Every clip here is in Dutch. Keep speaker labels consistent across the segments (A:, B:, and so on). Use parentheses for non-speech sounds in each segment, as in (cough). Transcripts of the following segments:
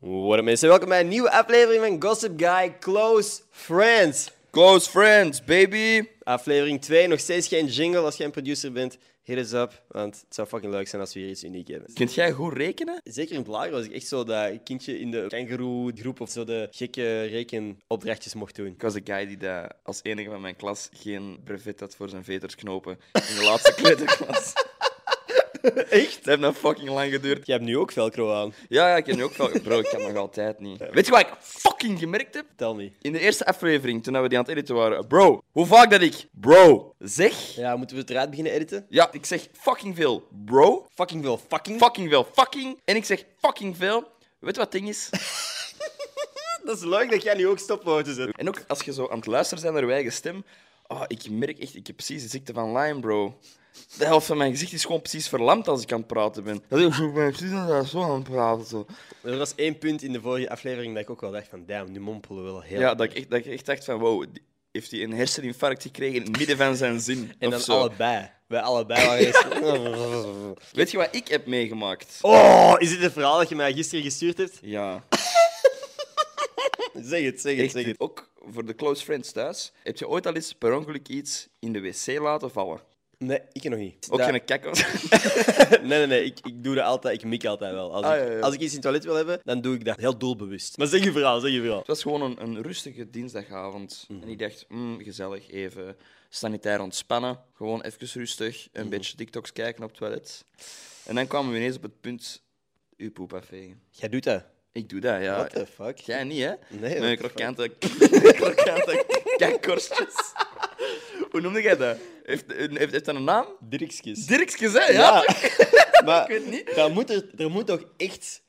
A: What up mensen, welkom bij een nieuwe aflevering van Gossip Guy Close Friends.
B: Close friends, baby.
A: Aflevering 2, nog steeds geen jingle als jij een producer bent. Hit us up, want het zou fucking leuk zijn als we hier iets uniek hebben.
B: Kunt jij goed rekenen?
A: Zeker in het lager was ik echt zo dat kindje in de kangaroo-groep of zo de gekke rekenopdrachtjes mocht doen.
B: Ik was de guy die dat als enige van mijn klas geen brevet had voor zijn vetersknopen in de laatste kleuterklas.
A: Echt?
B: Het heeft nou fucking lang geduurd.
A: Jij hebt nu ook velcro aan.
B: Ja, ja, ik heb nu ook veel... Bro, ik kan nog altijd niet. Weet je wat ik fucking gemerkt heb?
A: Tel me.
B: In de eerste aflevering, toen we die aan het editen waren. Bro, hoe vaak dat ik bro zeg?
A: Ja, moeten we het eruit beginnen editen?
B: Ja, ik zeg fucking veel bro.
A: Fucking veel fucking.
B: Fucking veel fucking. En ik zeg fucking veel. Weet je wat het ding is?
A: Dat is leuk dat jij nu ook stopwoorden zet.
B: En ook als je zo aan het luisteren bent naar je eigen stem. ah, ik merk echt, ik heb precies de ziekte van Lyme, bro. De helft van mijn gezicht is gewoon precies verlamd als ik aan het praten ben. Dat is ik ben precies als ik zo aan het praten. Zo.
A: Er was één punt in de vorige aflevering dat ik ook wel dacht van, damn, nu mompelen we wel heel
B: Ja, dat ik, echt, dat ik echt dacht van, wow, die- heeft hij een herseninfarct gekregen in het midden van zijn zin?
A: En
B: of
A: dan
B: zo.
A: allebei. Wij allebei (laughs) waren eens-
B: Weet je wat ik heb meegemaakt?
A: Oh, is dit het verhaal dat je mij gisteren gestuurd hebt?
B: Ja,
A: Zeg het, zeg het,
B: echt.
A: zeg het.
B: Ook voor de close friends thuis. Heb je ooit al eens per ongeluk iets in de wc laten vallen?
A: Nee, ik nog niet.
B: Ook
A: Dat-
B: geen kak.
A: (laughs) Nee, nee, nee. Ik, ik doe dat altijd. Ik mik altijd wel. Als,
B: Ah,
A: ik,
B: ja, ja.
A: als ik iets in het toilet wil hebben, dan doe ik dat heel doelbewust. Maar zeg je verhaal, zeg je verhaal.
B: Het was gewoon een, een rustige dinsdagavond.
A: Mhm.
B: En ik dacht, mm, gezellig, even sanitair ontspannen. Gewoon even rustig,
A: Mhm.
B: een beetje TikToks kijken op het toilet. En dan kwamen we ineens op het punt, uw poep afvegen.
A: Jij doet dat.
B: Ik doe dat, ja.
A: What the fuck?
B: Jij niet, hè?
A: Ah, Nee,
B: Met
A: what the
B: krokante, (laughs) krokante
A: (laughs)
B: kakkorstjes. (laughs) Hoe noemde jij dat? Heeft, heeft, heeft dat een naam?
A: Dirkskis.
B: Dirkske, hè? Ja, toch?
A: (laughs) maar
B: Ik weet niet.
A: Dan moet er, er moet toch echt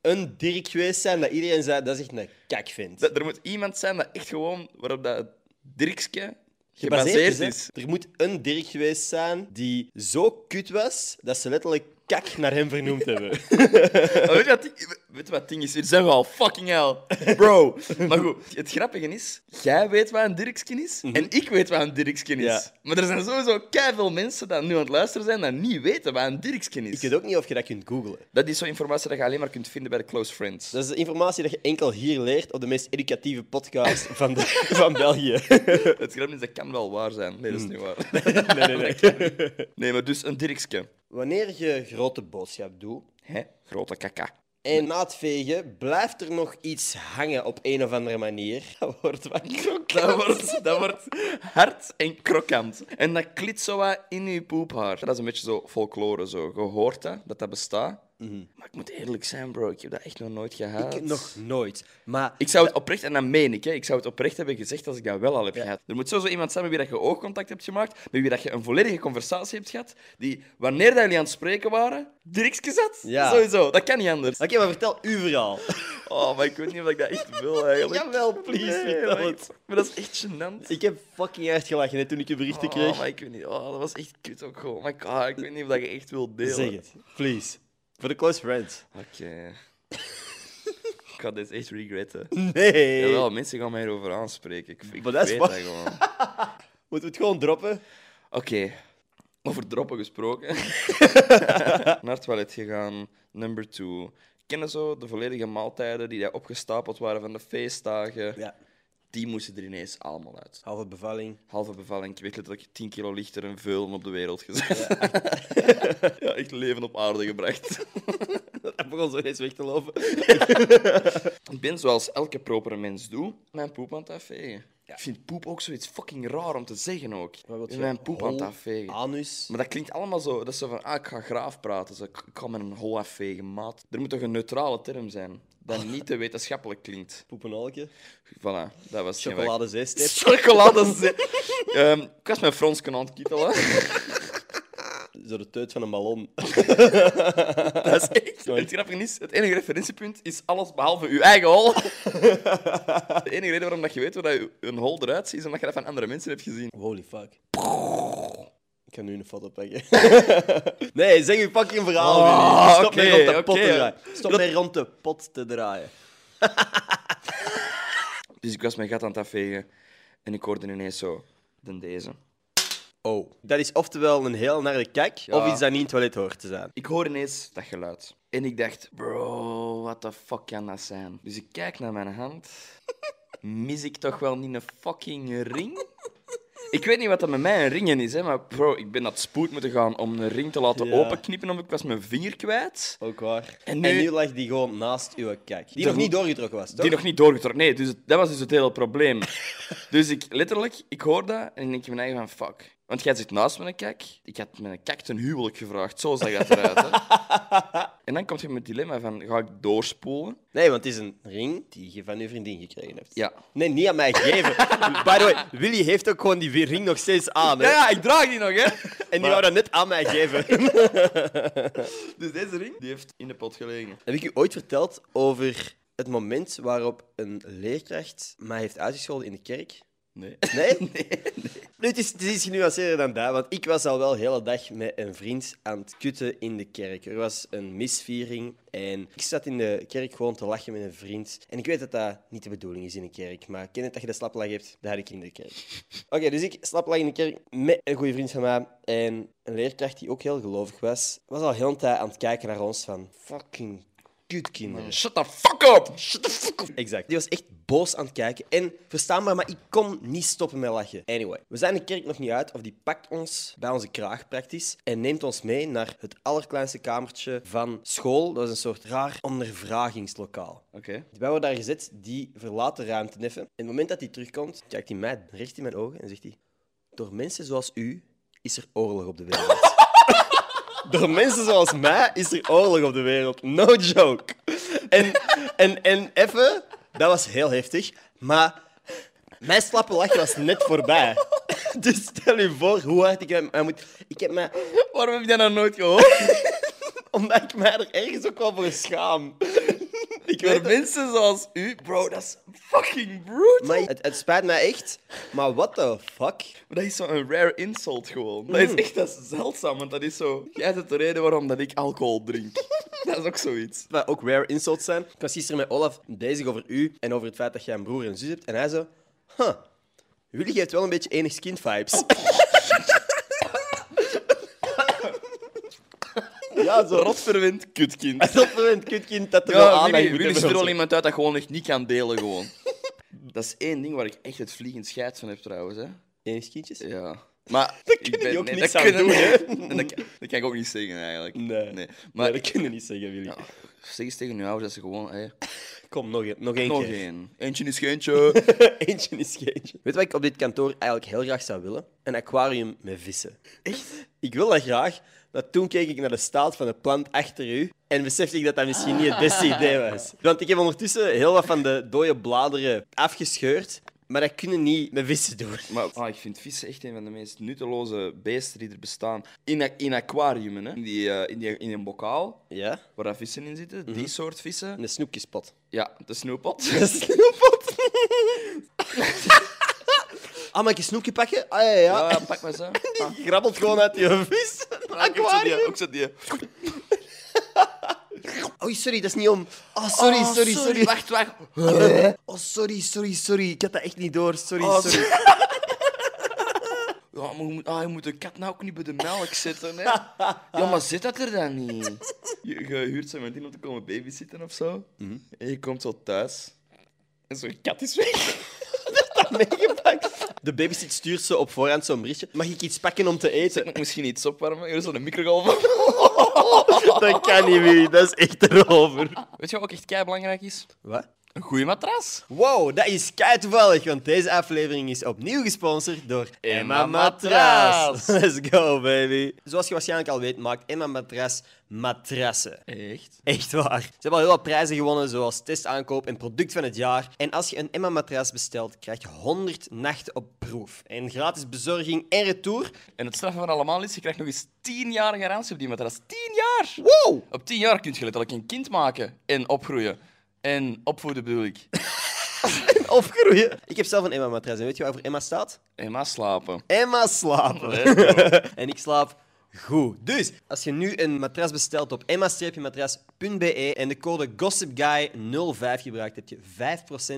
A: een Dirk geweest zijn dat iedereen zei dat is echt een kak vindt.
B: Dat- Er moet iemand zijn dat echt gewoon, waarop dat Dirkske
A: Gebaseerd
B: gebaseerd is.
A: hè? Er moet een Dirk geweest zijn die zo kut was dat ze letterlijk kak naar hem vernoemd (laughs) hebben.
B: Maar weet, je wat ding- weet je wat het ding is? Hier zijn we al fucking hell. Bro. Maar goed, het grappige is, jij weet wat een Dirkskin is en ik weet wat een Dirkskin is.
A: Mhm. Ja.
B: Maar er zijn sowieso veel mensen die nu aan het luisteren zijn dat niet weten wat een Dirkskin is.
A: Ik weet ook niet of je dat kunt googlen.
B: Dat is zo'n informatie dat je alleen maar kunt vinden bij de close friends.
A: Dat is de informatie dat je enkel hier leert op de meest educatieve (laughs) podcast van, de- van België.
B: Het grappige is, dat kan wel waar zijn. Nee, dat
A: Mhm.
B: is niet waar.
A: Nee, nee, (laughs) nee.
B: Nee, maar dus een Dirkskin.
A: Wanneer je grote boodschap doet
B: Hè? Grote kaka.
A: en na het vegen blijft er nog iets hangen op een of andere manier, (laughs) dat wordt wat krokant.
B: Dat wordt, dat wordt hard en krokant. En dat klit zo wat in je poephaar. Dat is een beetje zo folklore, zo. Je hoort dat, dat dat bestaat. Maar ik moet eerlijk zijn, bro. Ik heb dat echt nog nooit gehad.
A: Mhm. Ik nog nooit. Maar
B: Ik zou het oprecht, en dat meen ik, hè, ik zou het oprecht hebben gezegd als ik dat wel al heb gehad. Er moet sowieso iemand zijn met wie dat je oogcontact hebt gemaakt, met wie dat je een volledige conversatie hebt gehad, die, wanneer dat jullie aan het spreken waren, direct zat.
A: Ja.
B: Sowieso, dat kan niet anders.
A: Oké, maar vertel uw verhaal.
B: Oh, maar ik weet niet of ik dat echt wil,
A: (laughs)
B: eigenlijk.
A: Jawel, please,
B: Nee,
A: vertel
B: maar-
A: het.
B: Maar dat is echt gênant.
A: (laughs) Ik heb fucking hard gelachen hè, toen ik je berichten
B: Oh,
A: kreeg.
B: maar ik weet niet. Oh, dat was echt kut ook gewoon. Maar ik, ah, ik weet niet of dat je echt wilt delen.
A: Zeg het, please. Voor de close friends.
B: Oké. (laughs) ik ga dit echt regretten.
A: Nee.
B: Jawel, mensen gaan mij erover aanspreken. Ik, ik
A: Maar dat is
B: weet
A: wa-
B: dat gewoon. Oké.
A: Moeten we het gewoon droppen?
B: Over droppen
A: (laughs)
B: gesproken. Naar het toilet gegaan. Number two. Kennen zo de volledige maaltijden die daar opgestapeld waren van de feestdagen?
A: Ja.
B: Die moesten er ineens allemaal uit.
A: Halve bevalling.
B: halve bevalling. Ik weet letterlijk 10 kilo lichter en veulen op de wereld gezet. (laughs) Ja, echt leven op aarde gebracht. (laughs)
A: Dat begon zo eens weg te lopen.
B: Ik ben zoals elke propere mens doet, mijn poep aan het afvegen. Ik vind poep ook zoiets fucking raar om te zeggen Oh. Ah. ook. Ik ben mijn poep aan het afvegen.
A: Anus.
B: Maar dat klinkt allemaal zo, dat is zo van, ah, ik ga graaf praten. Zo, ik ik ga met een hol afvegen, maat. Er moet toch een neutrale term zijn, dat niet te wetenschappelijk klinkt.
A: Poepenolkje.
B: Voilà, dat was geen werk.
A: Chocoladezeestip.
B: Chocolade. Ehm ik was mijn Frans kunnen kietelen.
A: Zo de teut van een ballon.
B: Dat is echt. Het grappige is, het enige referentiepunt is alles behalve uw eigen hol. De enige reden waarom dat je weet hoe dat je- een hol eruit ziet, is omdat je dat van andere mensen hebt gezien.
A: Holy fuck. Ik kan nu een foto pakken. (laughs) nee, zeg je fucking verhaal.
B: Oh,
A: Willy. Stop
B: oké,
A: mee rond de pot
B: oké.
A: te draaien. Stop mee rond de pot te draaien.
B: Dus ik was mijn gat aan het afvegen en ik hoorde ineens zo, dan deze. Oh.
A: Dat is oftewel een heel naar de kijk, of
B: Ja.
A: iets dat niet in het toilet hoort te zijn.
B: Ik hoor ineens dat geluid. En ik dacht, bro, what the fuck kan dat zijn? Dus ik kijk naar mijn hand. (laughs) Mis ik toch wel niet een fucking ring? Ik weet niet wat dat met mij een ringen is, hè, maar bro, ik ben dat spoed moeten gaan om een ring te laten
A: Ja.
B: openknippen, omdat ik was mijn vinger kwijt.
A: Ook waar. En
B: En
A: nu,
B: nu-
A: lag die gewoon naast uw kijk. Die
B: De
A: nog niet
B: ho-
A: doorgetrokken was, toch?
B: Die nog niet doorgetrokken. Nee, dus het- dat was dus het hele (laughs) probleem. dus ik letterlijk, ik hoor dat en ik denk in mijn eigen van fuck. Want jij zit naast mijn kak. Ik had mijn kak ten huwelijk gevraagd. Zo zag dat eruit. Hè. (laughs) en dan komt je met het dilemma van ga ik doorspoelen?
A: Nee, want het is een ring die je van je vriendin gekregen hebt.
B: Ja.
A: Nee, niet aan mij gegeven. (laughs) By the way, Willy heeft ook gewoon die ring nog steeds aan. Hè?
B: Ja, ja, ik draag die nog, hè? (laughs)
A: En die wou dat net aan mij geven.
B: Dus deze ring die heeft in de pot gelegen.
A: Heb ik u ooit verteld over het moment waarop een leerkracht mij heeft uitgescholden in de kerk?
B: Nee.
A: (laughs) Nee? Nu, het, is, het is iets genuanceerder dan dat, want ik was al wel de hele dag met een vriend aan het kutten in de kerk. Er was een misviering en ik zat in de kerk gewoon te lachen met een vriend. En ik weet dat dat niet de bedoeling is in een kerk, maar ken het dat je de slaplach hebt? Dat had ik in de kerk. Oké, dus ik slaplach in de kerk met een goede vriend van mij en een leerkracht die ook heel gelovig was, was al heel de tijd aan het kijken naar ons van fucking kutkinderen.
B: (laughs) Shut the fuck up! Shut the fuck up!
A: Exact. Die was echt boos aan het kijken. En verstaanbaar, maar ik kon niet stoppen met lachen. Anyway, we zijn de kerk nog niet uit, of die pakt ons bij onze kraag praktisch. En neemt ons mee naar het allerkleinste kamertje van school. Dat is een soort raar ondervragingslokaal.
B: Oké.
A: Wij worden daar gezet, die verlaat de ruimte even. En het moment dat hij terugkomt, kijkt hij mij recht in mijn ogen en zegt hij... Door mensen zoals u is er oorlog op de wereld. (laughs) Door mensen zoals mij is er oorlog op de wereld. No joke. En, en, en even, dat was heel heftig, maar mijn slappe lach was net voorbij. (laughs) Dus stel je voor hoe hard ik hem hem moet... Ik heb mij
B: Waarom heb je dat nou nooit (laughs) gehoord?
A: omdat ik mij er ergens ook wel voor schaam. (laughs) Ik weet
B: Door
A: het-
B: mensen zoals u, bro, dat is fucking brutal.
A: Maar het, het spijt mij echt, maar what the fuck?
B: Maar dat is zo'n rare insult gewoon. Dat
A: Mm.
B: is echt dat is zeldzaam, want dat is zo... Jij bent de reden waarom dat ik alcohol drink. (laughs) dat is ook zoiets.
A: Wat ook rare insults zijn. Ik was gisteren met Olaf bezig over u en over het feit dat jij een broer en een zus hebt. En hij zo, huh, jullie geeft wel een beetje enig kind
B: Oh.
A: vibes. (laughs) ja, zo rot.
B: Rotverwind, kutkind.
A: Dat moment, kutkind, dat er wel
B: Ja,
A: aandacht
B: jullie,
A: moet
B: jullie
A: hebben.
B: sturen al iemand uit dat gewoon echt niet kan
A: (laughs)
B: delen, gewoon. dat is één ding waar ik echt het vliegend scheids van heb, trouwens, hè.
A: Enig kindjes?
B: Ja. Maar
A: (laughs) kunnen die ook
B: niet
A: niks aan doen, hè?
B: (laughs) dat, kan- dat kan ik ook niet zeggen, eigenlijk.
A: Nee.
B: Maar
A: Nee, dat kunnen we niet zeggen, Willy.
B: zeg eens tegen uw ouders dat ze gewoon... Hé,
A: Kom, nog, een- nog één
B: nog
A: keer.
B: één. Eentje
A: (laughs)
B: is geentje.
A: Eentje is geentje. Weet je wat ik op dit kantoor eigenlijk heel graag zou willen? Een aquarium met vissen. Echt? Ik wil dat graag, maar toen keek ik naar de staat van de plant achter u en besefte ik dat dat misschien niet het beste idee was. Want ik heb ondertussen heel wat van de dode bladeren afgescheurd, maar dat kunnen niet met vissen doen.
B: Maar ah, ik vind vissen echt een van de meest nutteloze beesten die er bestaan. In, a- in aquariumen, hè. In, die, eh, in, die, in een bokaal,
A: Ja?
B: waar dat vissen in zitten.
A: Mhm.
B: Die soort vissen.
A: Een (laughs) snoepjespot.
B: Ja, de snoeppot.
A: Een snoeppot? ah, mag ik een snoepje pakken? Ah, ja, ja.
B: Ja,
A: ja. Ah,
B: ja, pak maar zo. Ah.
A: (laughs) Die grabbelt gewoon uit je vis.
B: Ik heb zo die-
A: Aquarium.
B: Ook zo die...
A: Oei, sorry, dat is niet om. Oh, sorry,
B: Oh,
A: sorry, sorry.
B: Wacht, wacht.
A: (laughs) Oh, sorry, sorry, sorry. Ik had dat echt niet door. Sorry,
B: Oh,
A: sorry. (laughs)
B: Ja, maar je moet, ah, je moet de kat nou ook niet bij de melk zetten, hè. Ja, maar zit dat er dan niet? Je, je huurt zo iemand in om te komen babysitten of zo.
A: Mhm.
B: En je komt zo thuis. En zo'n kat is weg.
A: Meegepakt. De babysit stuurt ze op voorhand zo'n berichtje. Mag ik iets pakken om te
B: (laughs)
A: eten?
B: Misschien iets opwarmen. Er is zo'n microgolf.
A: (laughs)
B: (laughs)
A: Dat kan niet, Willy. Dat is echt erover.
B: Weet je wat ook echt kei belangrijk is?
A: Wat?
B: Een goede matras.
A: Wow, dat is kei toevallig, want deze aflevering is opnieuw gesponsord door Emma
B: Emma
A: Matras. (laughs)
B: Matras.
A: Let's go, baby. Zoals je waarschijnlijk al weet, maakt Emma Matras matrassen.
B: Echt?
A: Echt waar. Ze hebben al heel wat prijzen gewonnen, zoals testaankoop en product van het jaar. En als je een Emma-matras bestelt, krijg je 100 nachten op proef. En gratis bezorging en retour.
B: En het straf van allemaal is, je krijgt nog eens 10 jaar garantie op die matras. 10 jaar! (laughs)
A: Wow!
B: Op 10 jaar kun je letterlijk een kind maken en opgroeien. En opvoeden bedoel ik. (laughs)
A: Opgroeien. Ik heb zelf een Emma-matras en weet je waarvoor Emma staat?
B: Emma slapen.
A: Emma slapen. (laughs) en ik slaap goed. Dus, als je nu een matras bestelt op emma-matras.be en de code GossipGuy05 gebruikt, heb je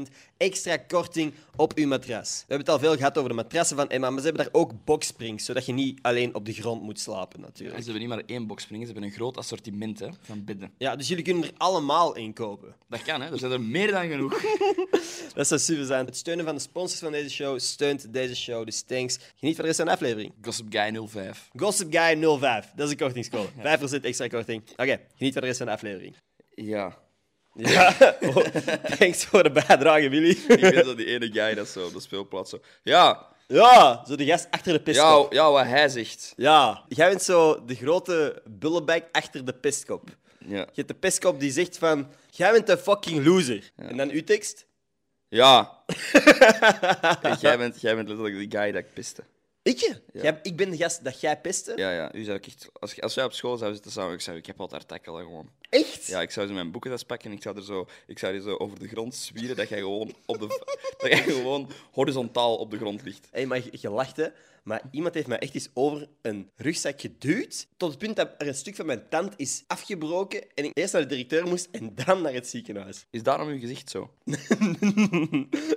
A: 5% extra korting op je matras. We hebben het al veel gehad over de matrassen van Emma, maar ze hebben daar ook boksprings, zodat je niet alleen op de grond moet slapen
B: Ze
A: natuurlijk.
B: hebben niet maar één boxspringen, ze hebben een groot assortiment hè, van bedden.
A: Ja, dus jullie kunnen er allemaal in kopen.
B: Dat kan, hè? Er zijn er meer dan genoeg. (laughs)
A: Dat zou super zijn. Het steunen van de sponsors van deze show steunt deze show, dus thanks. Geniet van de rest van de aflevering.
B: Gossip Guy 05.
A: Gossip Guy 05. Dat is een kortingscode. 5% extra korting. Oké, geniet van de rest van de aflevering.
B: Ja.
A: Ja. (laughs) Oh, thanks voor de bijdrage, Willy.
B: Ik weet dat die ene guy dat zo op de speelplaats zo... Ja,
A: Ja, zo de gast achter de
B: ja,
A: pestkop.
B: ja, wat hij zegt.
A: Ja, jij bent zo de grote bullebek achter de pestkop.
B: Ja.
A: Je hebt de pestkop die zegt van, jij bent een fucking loser. En dan uw tekst? (laughs)
B: Ja. En jij, bent, jij bent letterlijk die guy dat ik piste.
A: Ik je? Jij- ik ben de gast dat jij pestte?
B: Ja, ja. U zou ik echt, als, als wij op school zouden zitten, zou ik zeggen, ik heb altijd tackelen gewoon.
A: Echt?
B: Ja, ik zou zo mijn boekentas pakken en ik zou, er zo, ik zou die zo over de grond zwieren dat jij gewoon, op de, (laughs) dat jij gewoon horizontaal op de grond ligt.
A: Hé, maar je- je lacht, hè. Maar iemand heeft mij echt eens over een rugzak geduwd. Tot het punt dat er een stuk van mijn tand is afgebroken. En ik eerst naar de directeur moest en dan naar het ziekenhuis.
B: Is daarom uw gezicht zo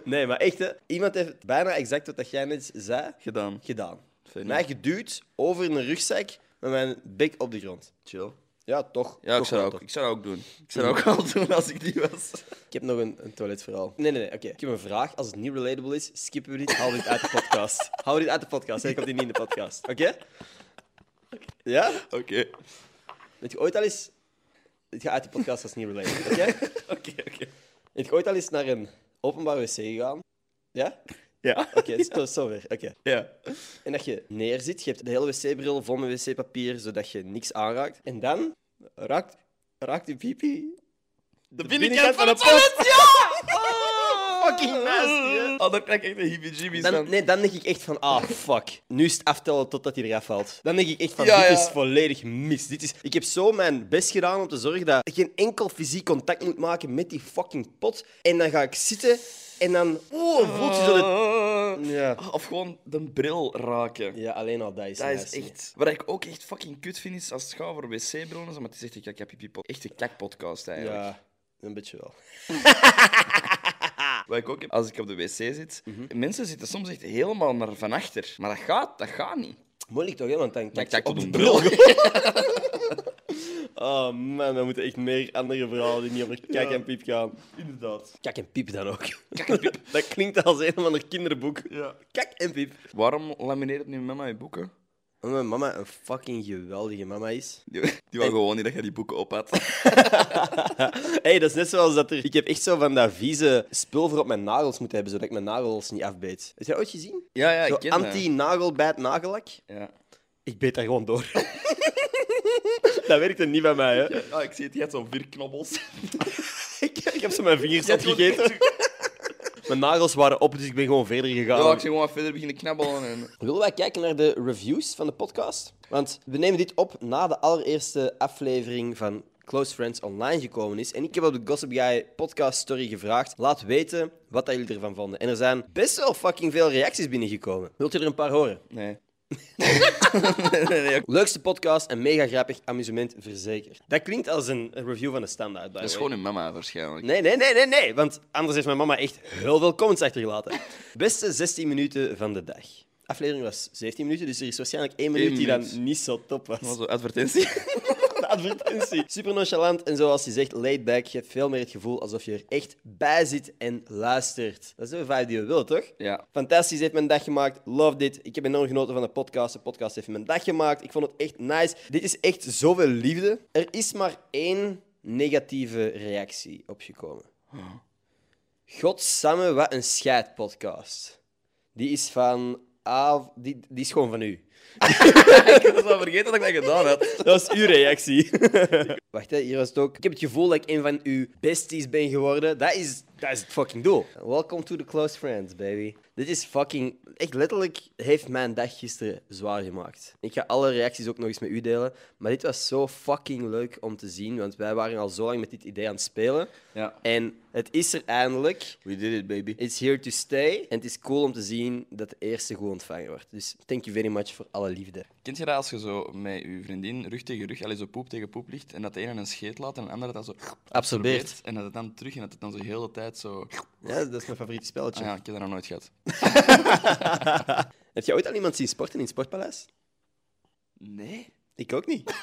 A: nee, maar echt, hè. Iemand heeft bijna exact wat dat jij net zei,
B: gedaan?
A: gedaan.
B: Fijn,
A: Mij geduwd over een rugzak met mijn bek op de grond.
B: Chill.
A: Ja, toch.
B: Ja, ik
A: Toch
B: zou,
A: wel
B: dat ook,
A: toch.
B: ik zou dat ook doen. Ik zou dat ook al doen als ik die
A: (laughs)
B: was.
A: Ik heb nog een, een toiletverhaal. Nee, nee, nee. Oké. Ik heb een vraag. Als het niet relatable is, skippen we dit. Haal dit uit de podcast. Haal dit uit de podcast. hè. Ik komt dit niet in de podcast. Oké? Ja?
B: Oké.
A: Weet je ooit al eens... Dit gaat uit de podcast, dat is niet related, oké? (laughs)
B: Oké, oké.
A: Weet je ooit al eens naar een openbare wc gegaan? Ja? (laughs)
B: Ja?
A: Oké, dus tot zover. Oké.
B: Ja.
A: En dat je neerzit, je hebt de hele wc-bril vol met wc-papier, zodat je niks aanraakt. En dan raakt, raakt je pipi...
B: De
A: binnenkant van het
B: pot! Ja!
A: (laughs) Fucking nasty, hè?
B: Oh, daar krijg ik echt een heebie-jeebies
A: Dan,
B: van.
A: nee, dan denk ik echt van, ah, fuck. Nu is het aftellen totdat hij eraf valt. Dan denk ik echt van,
B: Ja,
A: dit
B: ja.
A: is volledig mis. Dit is, ik heb zo mijn best gedaan om te zorgen dat ik geen enkel fysiek contact moet maken met die fucking pot. En dan ga ik zitten en dan... Oeh, voelt je zo de
B: Ah.
A: Ja.
B: Of gewoon de bril raken.
A: ja, alleen al dat is
B: Dat is
A: nasty.
B: echt... Wat ik ook echt fucking kut vind, is als het gaat over wc-brillen, maar het is echt een kakapipipod. Echt een kakpodcast, eigenlijk.
A: Ja, een beetje wel.
B: Wat ik ook heb, als ik op de wc zit, mensen zitten soms echt helemaal naar van achter. Maar dat gaat, dat gaat niet.
A: Moeilijk toch, hè? Want dan
B: Ik
A: kijk je
B: kijk
A: op
B: tot
A: de
B: een
A: bril.
B: bril.
A: (laughs) Oh man, we moeten echt meer andere verhalen die niet over kijk en piep gaan.
B: Inderdaad.
A: Kijk en piep dan ook. Kijk en piep. (laughs) Dat klinkt als een of ander kinderboek.
B: Ja.
A: Kijk en piep.
B: Waarom lamineert nu mama je boeken?
A: Omdat Oh, mijn mama een fucking geweldige mama is.
B: Die, die wou gewoon niet dat je die boeken op had.
A: Hé, dat is net zoals dat er... Ik heb echt zo van dat vieze spul voor op mijn nagels moeten hebben, zodat ik mijn nagels niet afbeet. Heb je dat ooit gezien?
B: (laughs) Ja, ja,
A: Zo
B: ik ken dat.
A: anti-nagelbijt nagellak.
B: Ja.
A: Ik beet daar gewoon door. (laughs) dat werkte niet bij mij, (laughs) hè.
B: Ja, ik zie het, je hebt zo'n vier (laughs) knobbels.
A: Ik, ik heb zo mijn vingers
B: hebt gewoon-
A: opgegeten. Mijn nagels waren op, dus ik ben gewoon verder gegaan.
B: Ja, ik zie gewoon wat verder beginnen knabbelen. En...
A: Willen wij kijken naar de reviews van de podcast? Want we nemen dit op na de allereerste aflevering van Close Friends online gekomen is. En ik heb op de Gossip Guy podcast story gevraagd. Laat weten wat dat jullie ervan vonden. En er zijn best wel fucking veel reacties binnengekomen. Wilt u er een paar horen?
B: Nee. nee, nee, nee.
A: Leukste podcast en mega grappig amusement verzekerd. Dat klinkt als een een review van de standaard. by
B: Dat is
A: the way.
B: gewoon een mama waarschijnlijk.
A: Nee, nee, nee, nee, nee. Want anders heeft mijn mama echt heel veel comments achtergelaten. (laughs) Beste 16 minuten van de dag. Aflevering was 17 minuten, dus er is waarschijnlijk één minuut
B: Eén
A: die dan
B: minuut.
A: niet zo top was.
B: Dat was zo'n advertentie. (laughs)
A: De (laughs) advertentie. Super nonchalant en zoals hij zegt, laid back. Geeft veel meer het gevoel alsof je er echt bij zit en luistert. Dat is de vibe die we willen, toch?
B: Ja.
A: Fantastisch, heeft mijn dag gemaakt. Love dit. Ik heb enorm genoten van de podcast. De podcast heeft mijn dag gemaakt. Ik vond het echt nice. Dit is echt zoveel liefde. Er is maar één negatieve reactie opgekomen. Godsamme, wat een scheidpodcast. Die is van... Ah, die, die is gewoon van u.
B: ik had wel vergeten dat ik dat gedaan had.
A: (laughs) Dat is uw reactie. (laughs) Wacht, hè, hier was het ook. Ik heb het gevoel dat ik een van uw besties ben geworden. Dat is, dat is het fucking doel. Welcome to the close friends, baby. Dit is fucking... Echt letterlijk heeft mijn dag gisteren zwaar gemaakt. Ik ga alle reacties ook nog eens met u delen. Maar dit was zo fucking leuk om te zien. Want wij waren al zo lang met dit idee aan het spelen.
B: Ja.
A: En Het is er eindelijk.
B: We did it, baby.
A: It's here to stay. En het is cool om te zien dat de eerste goed ontvangen wordt. Dus thank you very much voor alle liefde.
B: Kent je dat als je zo met je vriendin rug tegen rug, allee, zo poep tegen poep ligt, en dat de ene een scheet laat en de andere dat zo
A: Absorbeert.
B: en dat het dan terug en dat het dan zo heel de hele tijd zo...
A: Ja, dat is mijn favoriete
B: Ah
A: spelletje.
B: ja, ik heb dat nog nooit gehad.
A: Heb je ooit al iemand zien sporten in het Sportpaleis?
B: Nee? Oké.
A: Ik ook niet.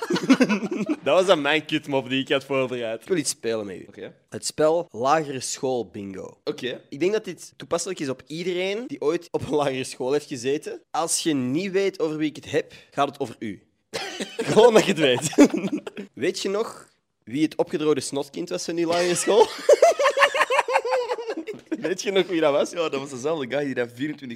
A: (laughs) dat was dan mijn kutmop die ik had voorbereid. Ik wil iets spelen met u. Het spel Lagere School Bingo.
B: Oké.
A: Ik denk dat dit toepasselijk is op iedereen die ooit op een lagere school heeft gezeten. Als je niet weet over wie ik het heb, gaat het over u. (laughs) Gewoon dat je het weet. (laughs) weet je nog wie het opgedroogde snotkind was van die lagere (laughs) school? weet je nog wie dat was?
B: Ja, dat was dezelfde guy die dat 24-7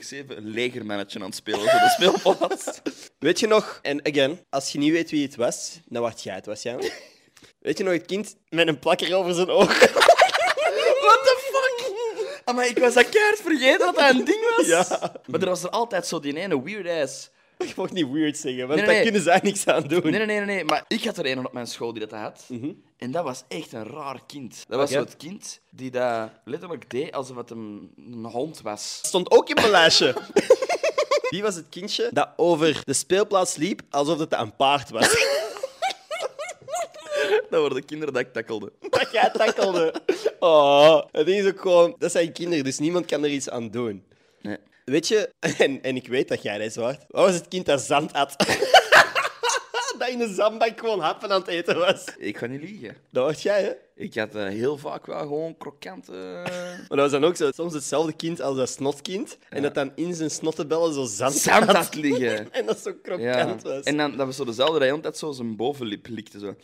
B: een legermannetje aan het spelen was op de speelplaats.
A: (laughs) Weet je nog, en again, als je niet weet wie het was, dan word jij het (laughs) waarschijnlijk. Weet je nog het kind met een plakker over zijn oog?
B: (laughs) What the fuck? Maar ik was dat keihard vergeten dat dat een ding was.
A: Ja.
B: Maar er was er altijd zo die ene weird ass.
A: (laughs) Ik mocht niet weird zeggen, want
B: Nee, nee,
A: daar
B: nee.
A: kunnen zij niks aan doen.
B: Nee, nee, nee, nee, nee, maar ik had er een op mijn school die dat had. En dat was echt een raar kind. Dat was
A: Oké.
B: zo het kind die dat letterlijk deed alsof het een, een hond was.
A: stond ook in mijn lijstje. (laughs) Wie was het kindje dat over de speelplaats liep alsof het een paard was?
B: (laughs) Dat waren de kinderen dat ik takkelde.
A: (laughs) Dat jij takkelde. Oh, het ding is ook gewoon... Dat zijn kinderen, dus niemand kan er iets aan doen.
B: (laughs) Nee.
A: Weet je, (laughs) en, en ik weet dat jij deze wordt. Wat was het kind dat zand at? (laughs) dat in de zandbak gewoon happen aan het eten was.
B: Ik ga niet liegen.
A: Dat was jij, hè?
B: Ik had eh, heel vaak wel gewoon (laughs) krokante...
A: Maar dat was dan ook zo, soms hetzelfde kind als dat snotkind. En dat dan in zijn snottenbellen zo zand,
B: Zand
A: at.
B: had (laughs) liggen.
A: En dat zo
B: Ja.
A: krokant was.
B: En dan, dat was zo dezelfde rij, dat zo zijn bovenlip likte. Zo.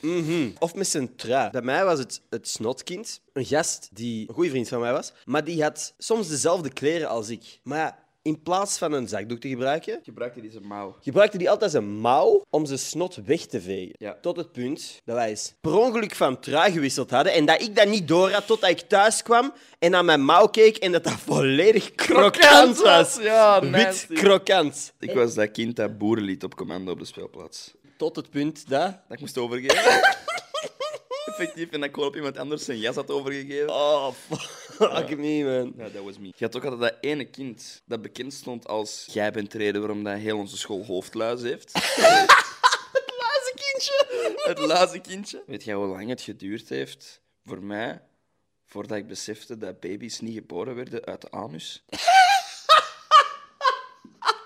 A: Of met zijn trui. Bij mij was het het snotkind. Een gast die een goede vriend van mij was. Maar die had soms dezelfde kleren als ik. Maar ja, in plaats van een zakdoek te gebruiken,
B: Gebruikte die zijn mouw.
A: gebruikte die altijd zijn mouw om zijn snot weg te vegen.
B: Ja.
A: Tot het punt dat wij eens per ongeluk van trui gewisseld hadden. En dat ik dat niet door had totdat ik thuis kwam en naar mijn mouw keek. En dat dat volledig krokant was.
B: Ja,
A: Wit
B: nasty.
A: krokant.
B: Ik was dat kind dat boeren liet op commando op de speelplaats.
A: Tot het punt dat...
B: Dat ik moest overgeven. (laughs) Effectief, en dat ik gewoon op iemand anders zijn jas had overgegeven.
A: Oh, fuck me, man.
B: Ja, dat was me. Je had ook altijd dat ene kind dat bekend stond als jij bent de reden waarom dat heel onze school hoofdluis heeft. (laughs) het laatste kindje. Weet jij hoe lang het geduurd heeft voor mij voordat ik besefte dat baby's niet geboren werden uit de anus?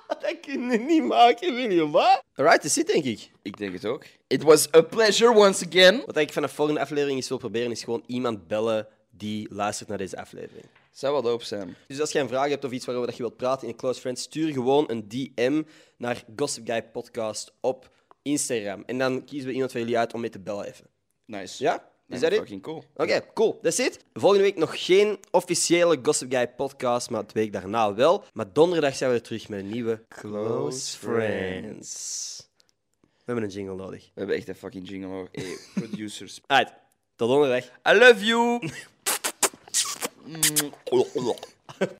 A: Dat kun je niet maken, William. Wat? Alright, is zit denk ik.
B: Ik denk het ook. It was a pleasure once again.
A: Wat ik van de volgende aflevering eens wil proberen, is gewoon iemand bellen die luistert naar deze aflevering.
B: Zou wel doop zijn.
A: Dus als jij een vraag hebt of iets waarover dat je wilt praten in een close friend, stuur gewoon een DM naar Gossip Guy Podcast op Instagram. En dan kiezen we iemand van jullie uit om mee te bellen even.
B: Nice.
A: Ja? Is
B: Nee,
A: dat het?
B: Fucking cool.
A: Oké, cool. That's it. Volgende week nog geen officiële Gossip Guy podcast, maar de week daarna wel. Maar donderdag zijn we er terug met een nieuwe Close Friends. We hebben een jingle nodig.
B: We hebben echt een fucking jingle hoor. Hey, (laughs) producers.
A: Uit. Tot donderdag.
B: I love you.